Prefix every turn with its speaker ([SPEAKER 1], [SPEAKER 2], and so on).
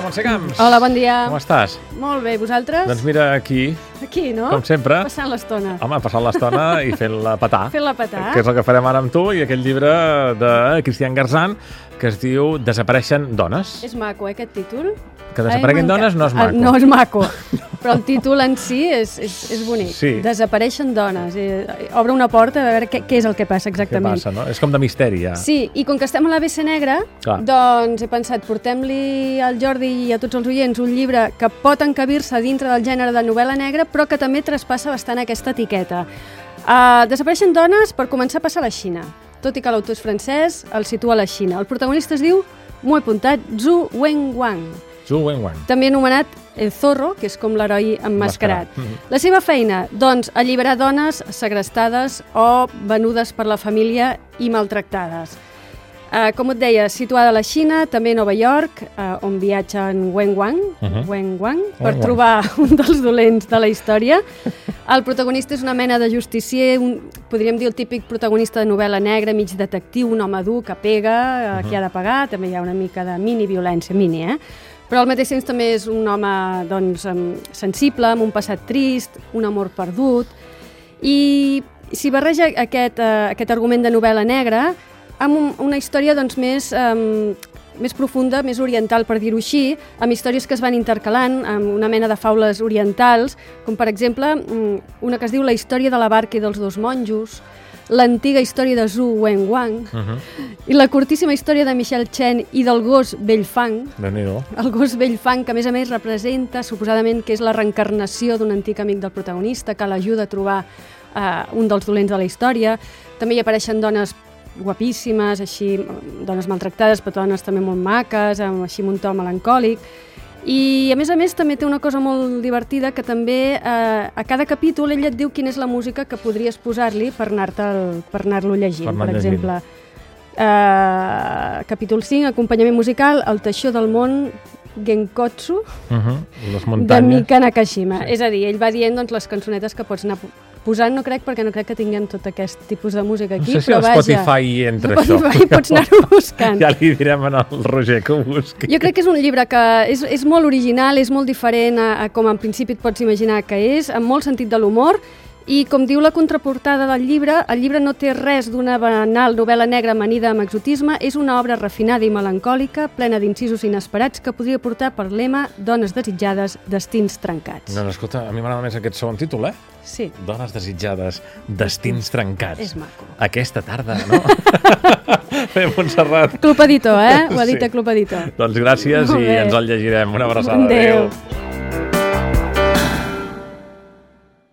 [SPEAKER 1] Mercè Camps.
[SPEAKER 2] Hola, bon dia.
[SPEAKER 1] Com estàs?
[SPEAKER 2] Molt bé, i vosaltres?
[SPEAKER 1] Doncs mira aquí,
[SPEAKER 2] Aquí, no?
[SPEAKER 1] com sempre,
[SPEAKER 2] Passant l'estona.
[SPEAKER 1] home, passant l'estona i fent-la petar.
[SPEAKER 2] Fent-la petar.
[SPEAKER 1] Que és el que farem ara amb tu i aquell llibre de Cristian Garzán que es diu Desapareixen dones.
[SPEAKER 2] És maco, eh, aquest títol?
[SPEAKER 1] Que desapareguin
[SPEAKER 2] Ai, m'encanta.
[SPEAKER 1] dones no és
[SPEAKER 2] Ah,
[SPEAKER 1] maco.
[SPEAKER 2] No és maco, però el títol en si és, és, és bonic.
[SPEAKER 1] Sí.
[SPEAKER 2] Desapareixen dones. Eh, obre una porta a veure què, què és el que passa
[SPEAKER 1] Què
[SPEAKER 2] exactament.
[SPEAKER 1] passa, no? És com de misteri, ja.
[SPEAKER 2] Sí, i com que estem a la BC Negra,
[SPEAKER 1] Clar.
[SPEAKER 2] doncs he pensat, portem-li al Jordi i a tots els oients un llibre que pot encabir-se dintre del gènere de novel·la negra, però que també traspassa bastant aquesta etiqueta. Uh, desapareixen dones per començar a passar a la Xina. Tot i que l'autor és francès, el situa a la Xina. El protagonista es diu, m'ho he apuntat, Zhu Wenguang,
[SPEAKER 1] Zhu Wenguang.
[SPEAKER 2] també anomenat El Zorro, que és com l'heroi emmascarat.
[SPEAKER 1] Emmascarat. Mhm.
[SPEAKER 2] La seva feina, doncs, alliberar dones segrestades o venudes per la família i maltractades. Uh, com et deia, situada a la Xina, també a Nova York, uh, on viatja en Wen Wang, uh
[SPEAKER 1] Mhm.
[SPEAKER 2] -huh. Wen Wang per
[SPEAKER 1] Wang.
[SPEAKER 2] trobar un dels dolents de la història. El protagonista és una mena de justicier, un, podríem dir el típic protagonista de novel·la negra, mig detectiu, un home dur que pega,
[SPEAKER 1] Mhm.
[SPEAKER 2] uh -huh. que ha de pagar, també hi ha una mica de mini-violència, mini, eh? Però al mateix temps també és un home doncs, em- sensible, amb un passat trist, un amor perdut, i s'hi barreja aquest, eh, aquest argument de novel·la negra amb un, una història doncs, més, eh, més profunda, més oriental, per dir-ho així, amb històries que es van intercalant, amb una mena de faules orientals, com per exemple mm, una que es diu La història de la barca i dels dos monjos, l'antiga història de Zhu Wenguang uh -huh. i la curtíssima història de Michel Chen i del gos Bellfang,
[SPEAKER 1] déu nhi
[SPEAKER 2] el gos vell fang, que a més a més representa suposadament que és la reencarnació d'un antic amic del protagonista que l'ajuda a trobar eh, un dels dolents de la història. També hi apareixen dones guapíssimes, així, mm, dones maltractades, però dones també molt maques, amb, així amb un to melancòlic. I a més a més també té una cosa molt divertida que també eh, a cada capítol ell et diu quina és la música que podries posar-li per anar-te'l- per anar-lo anar llegint,
[SPEAKER 1] Per
[SPEAKER 2] per,
[SPEAKER 1] anar
[SPEAKER 2] per
[SPEAKER 1] llegint.
[SPEAKER 2] exemple. Eh, capítol 5, acompanyament musical, El teixó del món Genkotsu,
[SPEAKER 1] Uh -huh. Les
[SPEAKER 2] de
[SPEAKER 1] muntanyes.
[SPEAKER 2] Mika Nakashima. Sí. És a dir, ell va dient doncs, les cançonetes que pots anar po- posant, no crec, perquè no crec que tinguem tot aquest tipus de música
[SPEAKER 1] No
[SPEAKER 2] aquí,
[SPEAKER 1] sé si
[SPEAKER 2] però
[SPEAKER 1] a
[SPEAKER 2] vaja.
[SPEAKER 1] Spotify hi entra
[SPEAKER 2] a Spotify
[SPEAKER 1] això.
[SPEAKER 2] pots anar-ho buscant.
[SPEAKER 1] Ja li direm al Roger que ho busqui.
[SPEAKER 2] Jo crec que és un llibre que és, és molt original, és molt diferent a, a com en principi et pots imaginar que és, amb molt sentit de l'humor, i com diu la contraportada del llibre, el llibre no té res d'una banal novel·la negra amanida amb exotisme, és una obra refinada i melancòlica, plena d'incisos inesperats, que podria portar per lema Dones desitjades, destins trencats.
[SPEAKER 1] No, no, escolta, a mi m'agrada més aquest segon títol, eh?
[SPEAKER 2] Sí,
[SPEAKER 1] Dones desitjades, destins trencats.
[SPEAKER 2] és maco.
[SPEAKER 1] Aquesta tarda, no? Bé, Montserrat,
[SPEAKER 2] Club Editor, eh? Ho ha dit
[SPEAKER 1] Sí.
[SPEAKER 2] a Club Editor.
[SPEAKER 1] doncs gràcies
[SPEAKER 2] Molt
[SPEAKER 1] i
[SPEAKER 2] bé.
[SPEAKER 1] ens el llegirem. Una abraçada.
[SPEAKER 2] Adéu.
[SPEAKER 1] Adéu.